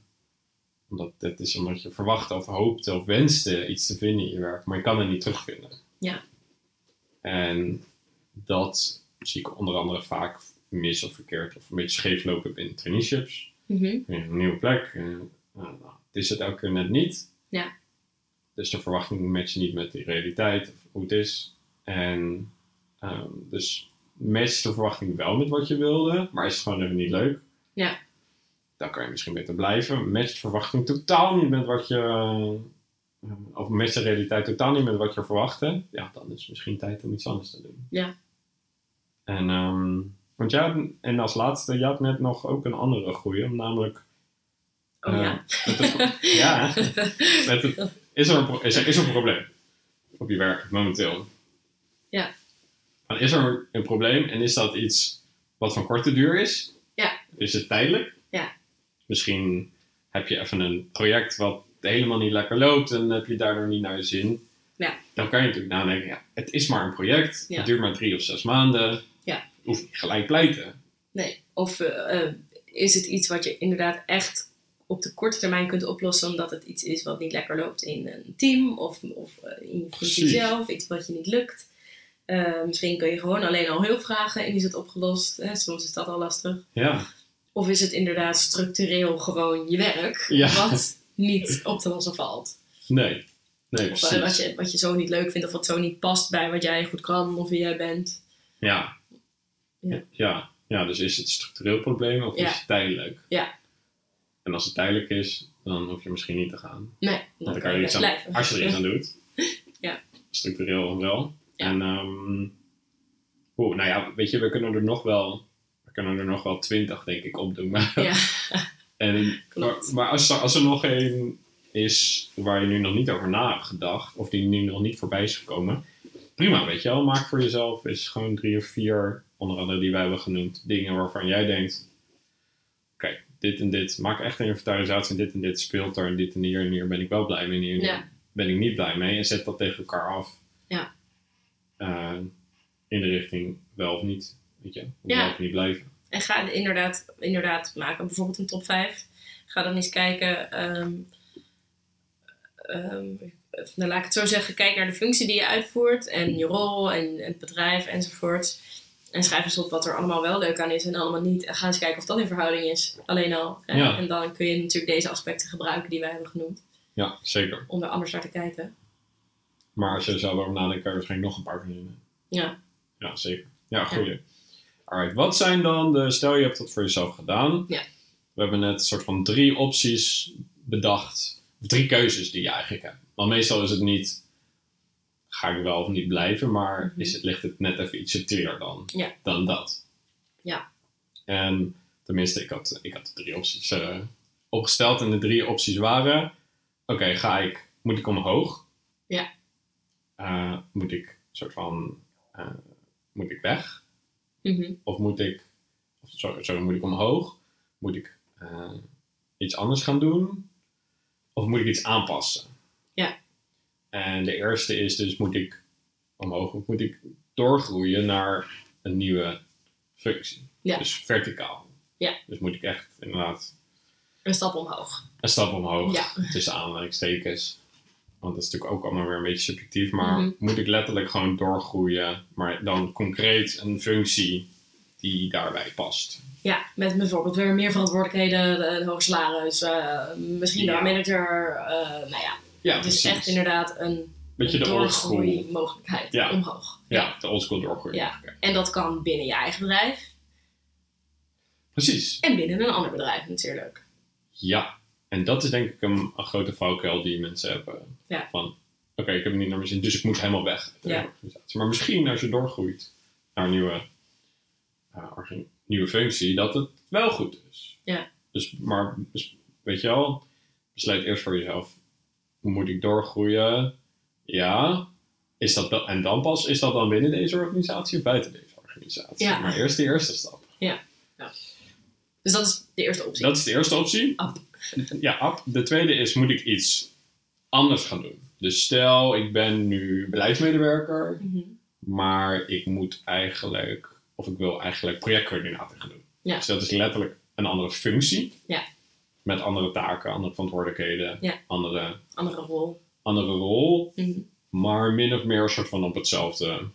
Speaker 1: Omdat het is omdat je verwachtte of hoopte of wenste iets te vinden in je werk, maar je kan het niet terugvinden.
Speaker 2: Ja.
Speaker 1: En dat zie ik onder andere vaak mis of verkeerd of een beetje scheef lopen in traineeships.
Speaker 2: Mhm.
Speaker 1: Weer Een nieuwe plek. eh, nou, nou, het is het elke keer net niet.
Speaker 2: Ja.
Speaker 1: Dus de verwachting matcht niet met de realiteit of hoe het is. En ehm, dus matcht de verwachting wel met wat je wilde, maar is het gewoon even niet leuk.
Speaker 2: Ja.
Speaker 1: Dan kan je misschien beter blijven. Matcht de verwachting totaal niet met wat je. eh, Of matcht de realiteit totaal niet met wat je verwachtte. Ja, dan is het misschien tijd om iets anders te doen.
Speaker 2: Ja.
Speaker 1: En, ehm, want jij, had- en als laatste, je had net nog ook een andere groei, namelijk
Speaker 2: Oh ja.
Speaker 1: met het- ja, met het- is, er een, pro- is, er, is er een probleem op je werk momenteel?
Speaker 2: Ja.
Speaker 1: Maar is er een probleem en is dat iets wat van korte duur is?
Speaker 2: Ja.
Speaker 1: Is het tijdelijk?
Speaker 2: Ja.
Speaker 1: Misschien heb je even een project wat helemaal niet lekker loopt en heb je daardoor niet naar je zin.
Speaker 2: Ja.
Speaker 1: Dan kan je natuurlijk nadenken, ja, het is maar een project,
Speaker 2: Ja.
Speaker 1: het duurt maar drie of zes maanden.
Speaker 2: Ja.
Speaker 1: Hoef niet gelijk pleiten.
Speaker 2: Nee. Of eh, eh, is het iets wat je inderdaad echt op de korte termijn kunt oplossen omdat het iets is wat niet lekker loopt in een team of, of eh, in je functie
Speaker 1: Precies.
Speaker 2: zelf, iets wat je niet lukt. Eh, misschien kun je gewoon alleen al hulp vragen en is het opgelost. Hè? Soms is dat al lastig.
Speaker 1: Ja.
Speaker 2: Of is het inderdaad structureel gewoon je werk,
Speaker 1: Ja.
Speaker 2: wat niet op te lossen valt?
Speaker 1: Nee. Nee,
Speaker 2: Of eh, wat
Speaker 1: precies.
Speaker 2: je, wat je zo niet leuk vindt, of wat zo niet past bij wat jij goed kan of wie jij bent.
Speaker 1: Ja.
Speaker 2: Ja.
Speaker 1: ja. Ja, dus is het structureel probleem of
Speaker 2: Ja.
Speaker 1: is het tijdelijk?
Speaker 2: Ja.
Speaker 1: En als het tijdelijk is, dan hoef je misschien niet te gaan.
Speaker 2: Nee,
Speaker 1: Want
Speaker 2: dat
Speaker 1: dan kan je iets aan,
Speaker 2: blijven.
Speaker 1: als je er iets aan doet.
Speaker 2: Ja.
Speaker 1: Structureel wel.
Speaker 2: Ja.
Speaker 1: En, ehm oeh, nou ja, weet je, we kunnen er nog wel, we kunnen er nog wel twintig denk ik opdoen. Maar,
Speaker 2: Ja,
Speaker 1: en, maar,
Speaker 2: klopt.
Speaker 1: maar als, er, als er nog één is waar je nu nog niet over na hebt gedacht, of die nu nog niet voorbij is gekomen, prima, weet je wel. Maak voor jezelf eens gewoon drie of vier, onder andere die wij hebben genoemd, dingen waarvan jij denkt, oké, dit en dit, maak echt een inventarisatie, dit en dit speelt er, en dit en hier en hier ben ik wel blij mee, en hier en hier
Speaker 2: Ja.
Speaker 1: ben ik niet blij mee, en zet dat tegen elkaar af.
Speaker 2: Ja.
Speaker 1: Eh, in de richting wel of niet, weet je, of
Speaker 2: Ja.
Speaker 1: wel of niet blijven.
Speaker 2: En ga inderdaad, inderdaad maken, bijvoorbeeld een top 5. Ga dan eens kijken. ehm, ehm, of, nou, laat ik het zo zeggen, kijk naar de functie die je uitvoert en je rol en het bedrijf enzovoort. En schrijf eens op wat er allemaal wel leuk aan is en allemaal niet. En ga eens kijken of dat in verhouding is, alleen al. hè.
Speaker 1: Ja.
Speaker 2: En dan kun je natuurlijk deze aspecten gebruiken die wij hebben genoemd,
Speaker 1: Ja, zeker.
Speaker 2: om er anders naar te kijken.
Speaker 1: Maar als je er zelf over nadenkt, kan je waarschijnlijk nog een paar verzinnen.
Speaker 2: Ja.
Speaker 1: Ja, zeker. Ja, goeie. Alright, wat zijn dan de... Stel, je hebt dat voor jezelf gedaan.
Speaker 2: Ja.
Speaker 1: We hebben net een soort van drie opties bedacht. Of drie keuzes die je eigenlijk hebt. Want meestal is het niet... Ga ik wel of niet blijven? Maar
Speaker 2: Mhm.
Speaker 1: is het, ligt het net even iets subtieler dan,
Speaker 2: Ja.
Speaker 1: dan dat?
Speaker 2: Ja.
Speaker 1: En tenminste, ik had, ik had de drie opties eh, opgesteld. En de drie opties waren... Oké, ga ik... Moet ik omhoog?
Speaker 2: Ja.
Speaker 1: Eh, moet ik soort van... eh, moet ik weg?
Speaker 2: Mhm.
Speaker 1: Of moet ik, of sorry, sorry, moet ik omhoog? Moet ik eh, iets anders gaan doen? Of moet ik iets aanpassen?
Speaker 2: Ja.
Speaker 1: En de eerste is dus, moet ik omhoog of moet ik doorgroeien naar een nieuwe functie?
Speaker 2: Ja.
Speaker 1: Dus verticaal.
Speaker 2: Ja.
Speaker 1: Dus moet ik echt inderdaad
Speaker 2: Een stap omhoog.
Speaker 1: een stap omhoog
Speaker 2: Ja.
Speaker 1: tussen aanhalingstekens. Want dat is natuurlijk ook allemaal weer een beetje subjectief. Maar
Speaker 2: Mhm.
Speaker 1: moet ik letterlijk gewoon doorgroeien, maar dan concreet een functie die daarbij past?
Speaker 2: Ja, met bijvoorbeeld weer meer verantwoordelijkheden, een hoog salaris, eh, misschien wel
Speaker 1: Ja.
Speaker 2: een manager. eh, nou ja,
Speaker 1: Ja,
Speaker 2: het is
Speaker 1: precies.
Speaker 2: echt inderdaad een
Speaker 1: Beetje de oldschool.
Speaker 2: doorgroeimogelijkheid
Speaker 1: Ja.
Speaker 2: omhoog.
Speaker 1: Ja, de oldschool doorgroei.
Speaker 2: Ja. En dat kan binnen je eigen bedrijf
Speaker 1: Precies.
Speaker 2: en binnen een ander bedrijf natuurlijk.
Speaker 1: Ja. En dat is denk ik een, een grote valkuil die mensen hebben.
Speaker 2: Ja.
Speaker 1: Van, oké, ik heb het niet naar mijn zin, dus ik moet helemaal weg. uit de
Speaker 2: Ja.
Speaker 1: organisatie. Maar misschien als je doorgroeit naar een nieuwe, eh, orga- nieuwe functie, dat het wel goed is.
Speaker 2: Ja.
Speaker 1: Dus, maar dus, weet je wel, besluit eerst voor jezelf. Moet ik doorgroeien? Ja. Is dat dan, en dan pas, is dat dan binnen deze organisatie of buiten deze organisatie?
Speaker 2: Ja.
Speaker 1: Maar eerst die eerste stap.
Speaker 2: Dus dat is de eerste optie.
Speaker 1: Dat is de eerste optie.
Speaker 2: Ab.
Speaker 1: Ja, ab. De tweede is, moet ik iets anders gaan doen? Dus stel, ik ben nu beleidsmedewerker,
Speaker 2: Mhm.
Speaker 1: maar ik moet eigenlijk, of ik wil eigenlijk projectcoördinator gaan doen.
Speaker 2: Ja.
Speaker 1: Dus dat is letterlijk een andere functie.
Speaker 2: Ja.
Speaker 1: Met andere taken, andere verantwoordelijkheden,
Speaker 2: Ja.
Speaker 1: andere,
Speaker 2: Andere rol.
Speaker 1: andere rol,
Speaker 2: Mhm.
Speaker 1: maar min of meer soort van op hetzelfde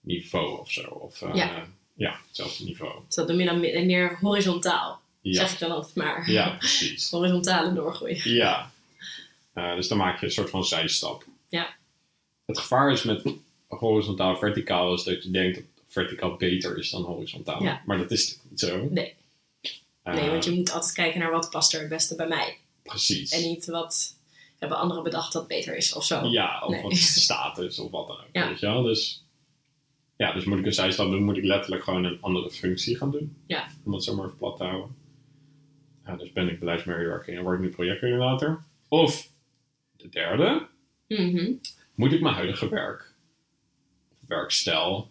Speaker 1: niveau of zo. Of, eh,
Speaker 2: Ja.
Speaker 1: Ja, hetzelfde niveau.
Speaker 2: Dus dat noem je dan meer, meer horizontaal,
Speaker 1: Ja,
Speaker 2: zeg ik dan altijd maar.
Speaker 1: ja precies.
Speaker 2: Horizontale doorgroei.
Speaker 1: Ja. Eh, dus dan maak je een soort van zijstap.
Speaker 2: Ja.
Speaker 1: Het gevaar is met horizontaal verticaal is dat je denkt dat verticaal beter is dan horizontaal.
Speaker 2: Ja.
Speaker 1: Maar dat is niet zo.
Speaker 2: Nee.
Speaker 1: Eh,
Speaker 2: Nee, want je moet altijd kijken naar wat past er het beste bij mij.
Speaker 1: Precies.
Speaker 2: En niet wat hebben anderen bedacht dat beter is of zo.
Speaker 1: Ja, of
Speaker 2: Nee.
Speaker 1: wat is de status of wat dan ook.
Speaker 2: Ja.
Speaker 1: Weet je wel? Dus, ja, dus moet ik een zijstap doen, moet ik letterlijk gewoon een andere functie gaan doen.
Speaker 2: Ja.
Speaker 1: Om dat zomaar even plat te houden. Ja, dus ben ik beleidsmedewerker en word ik nu projectcoördinator. Of de derde,
Speaker 2: Mhm.
Speaker 1: moet ik mijn huidige werk, werkstijl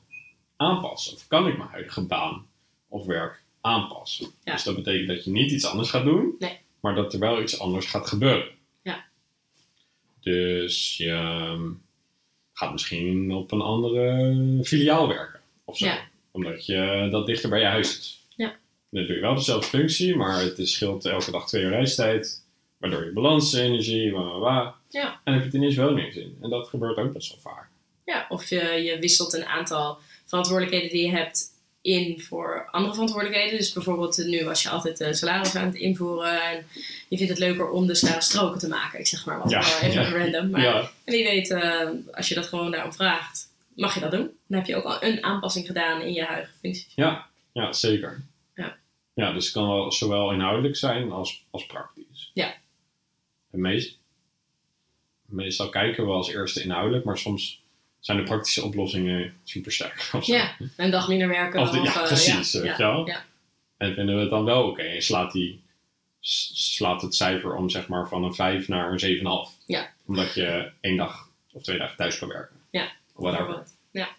Speaker 1: aanpassen? Of kan ik mijn huidige baan of werk aanpassen?
Speaker 2: Ja.
Speaker 1: Dus dat betekent dat je niet iets anders gaat doen,
Speaker 2: Nee.
Speaker 1: maar dat er wel iets anders gaat gebeuren.
Speaker 2: Ja.
Speaker 1: Dus je ehm, gaat misschien op een andere filiaal werken of zo.
Speaker 2: Ja.
Speaker 1: Omdat je dat dichter bij je huis is.
Speaker 2: Ja.
Speaker 1: Dan doe je wel dezelfde functie, maar het is- scheelt elke dag twee uur reistijd. Waardoor je balans, energie, wa, wa, wa. En heb je er ineens wel niks in. En dat gebeurt ook best wel vaak.
Speaker 2: Ja, of je, je wisselt een aantal verantwoordelijkheden die je hebt in voor andere verantwoordelijkheden. Dus bijvoorbeeld eh, nu was je altijd eh, salaris aan het invoeren en je vindt het leuker om de salarisstroken te maken. Ik zeg maar wat,
Speaker 1: Ja,
Speaker 2: eh, even random. Maar
Speaker 1: ja,
Speaker 2: wie weet, eh, als je dat gewoon daarom vraagt, mag je dat doen. Dan heb je ook al een aanpassing gedaan in je huidige functie.
Speaker 1: ja, zeker.
Speaker 2: Ja.
Speaker 1: ja, dus het kan wel zowel inhoudelijk zijn als, als praktisch.
Speaker 2: Ja.
Speaker 1: En meest, meestal kijken we als eerste inhoudelijk, maar soms zijn de praktische oplossingen super sterk. Of zo.
Speaker 2: Ja, een dag minder werken.
Speaker 1: Of de- ja,
Speaker 2: eh,
Speaker 1: precies.
Speaker 2: ja,
Speaker 1: weet
Speaker 2: ja.
Speaker 1: je wel?
Speaker 2: ja.
Speaker 1: En vinden we het dan wel oké? En slaat, die, s- slaat het cijfer om zeg maar, van een 5 naar een 7,5?
Speaker 2: Ja.
Speaker 1: Omdat je één dag of twee dagen thuis kan werken.
Speaker 2: Ja,
Speaker 1: Whatever.
Speaker 2: bijvoorbeeld. Ja.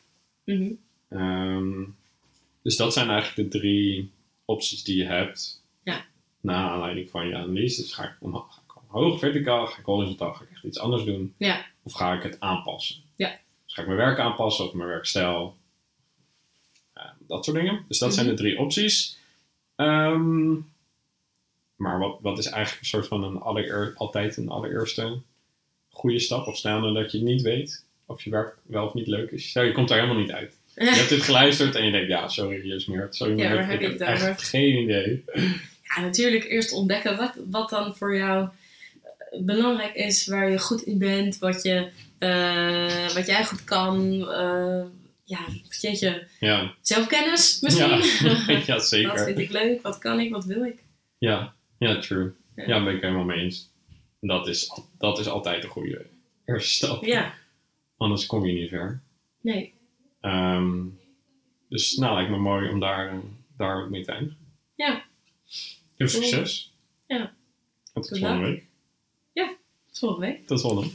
Speaker 2: Mhm.
Speaker 1: Ehm, dus dat zijn eigenlijk de drie opties die je hebt.
Speaker 2: Ja.
Speaker 1: Na aanleiding van je analyse. Dus ga ik omhoog, ga ik omhoog verticaal, ga ik horizontaal, ga ik echt iets anders doen?
Speaker 2: Ja.
Speaker 1: Of ga ik het aanpassen?
Speaker 2: Ja.
Speaker 1: Dus ga ik mijn werk aanpassen of mijn werkstijl? Eh, dat soort dingen. Dus dat zijn
Speaker 2: Mhm.
Speaker 1: de drie opties. Ehm, maar wat, wat is eigenlijk een soort van een allereer, altijd een allereerste goede stap? Of stel nou dat je niet weet of je werk wel of niet leuk is. Stel, je komt daar helemaal niet uit. Je hebt dit geluisterd en je denkt, ja, sorry, hier is meer. Sorry,
Speaker 2: Ja,
Speaker 1: maar
Speaker 2: waar
Speaker 1: ik
Speaker 2: heb ik
Speaker 1: heb
Speaker 2: het over?
Speaker 1: echt geen idee.
Speaker 2: Ja, Ah, natuurlijk eerst ontdekken wat, wat dan voor jou eh, belangrijk is, waar je goed in bent, wat, je, eh, wat jij goed kan. eh, ja, jeetje,
Speaker 1: Ja,
Speaker 2: zelfkennis misschien.
Speaker 1: ja. ja
Speaker 2: wat
Speaker 1: zeker.
Speaker 2: vind ik leuk, wat kan ik, wat wil ik.
Speaker 1: Ja, ja, true.
Speaker 2: Ja.
Speaker 1: Ja, daar ben ik helemaal mee eens. Dat is, al- dat is altijd een goede eerste stap.
Speaker 2: Ja,
Speaker 1: Anders kom je niet ver.
Speaker 2: nee.
Speaker 1: Ehm, dus nou, lijkt me mooi om daar, eh, daar mee te eindigen.
Speaker 2: Ja.
Speaker 1: Heel succes.
Speaker 2: Ja.
Speaker 1: Tot
Speaker 2: Tot
Speaker 1: volgende week.
Speaker 2: Tot volgende week.
Speaker 1: Tot volgende.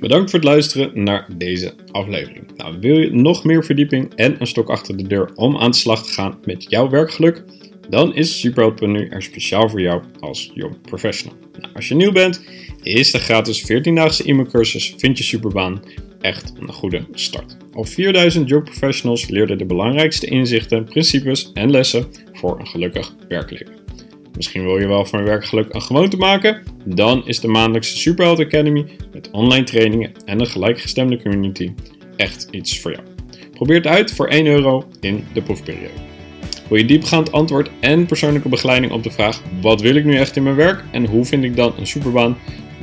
Speaker 1: Bedankt voor het luisteren naar deze aflevering. Nou, wil je nog meer verdieping en een stok achter de deur om aan de slag te gaan met jouw werkgeluk? Dan is Superhelp.nu er speciaal voor jou als jong professional. Nou, als je nieuw bent, is de gratis 14-daagse e-mailcursus Vind je Superbaan echt een goede start. Al 4000 jong professionals leerden de belangrijkste inzichten, principes en lessen voor een gelukkig werkleven. Misschien wil je wel van je werkgeluk een gewoonte maken? Dan is de maandelijkse Superheld Academy met online trainingen en een gelijkgestemde community echt iets voor jou. Probeer het uit voor 1 euro in de proefperiode. Wil je diepgaand antwoord en persoonlijke begeleiding op de vraag: wat wil ik nu echt in mijn werk en hoe vind ik dan een superbaan?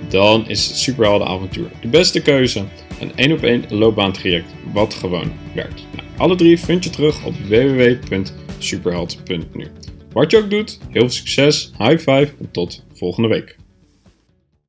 Speaker 1: Dan is het Superheldenavontuur de beste keuze. Een 1 op 1 loopbaantraject wat gewoon werkt. Nou, alle drie vind je terug op www.superheld.nu. Wat je ook doet, heel veel succes, high five en tot volgende week.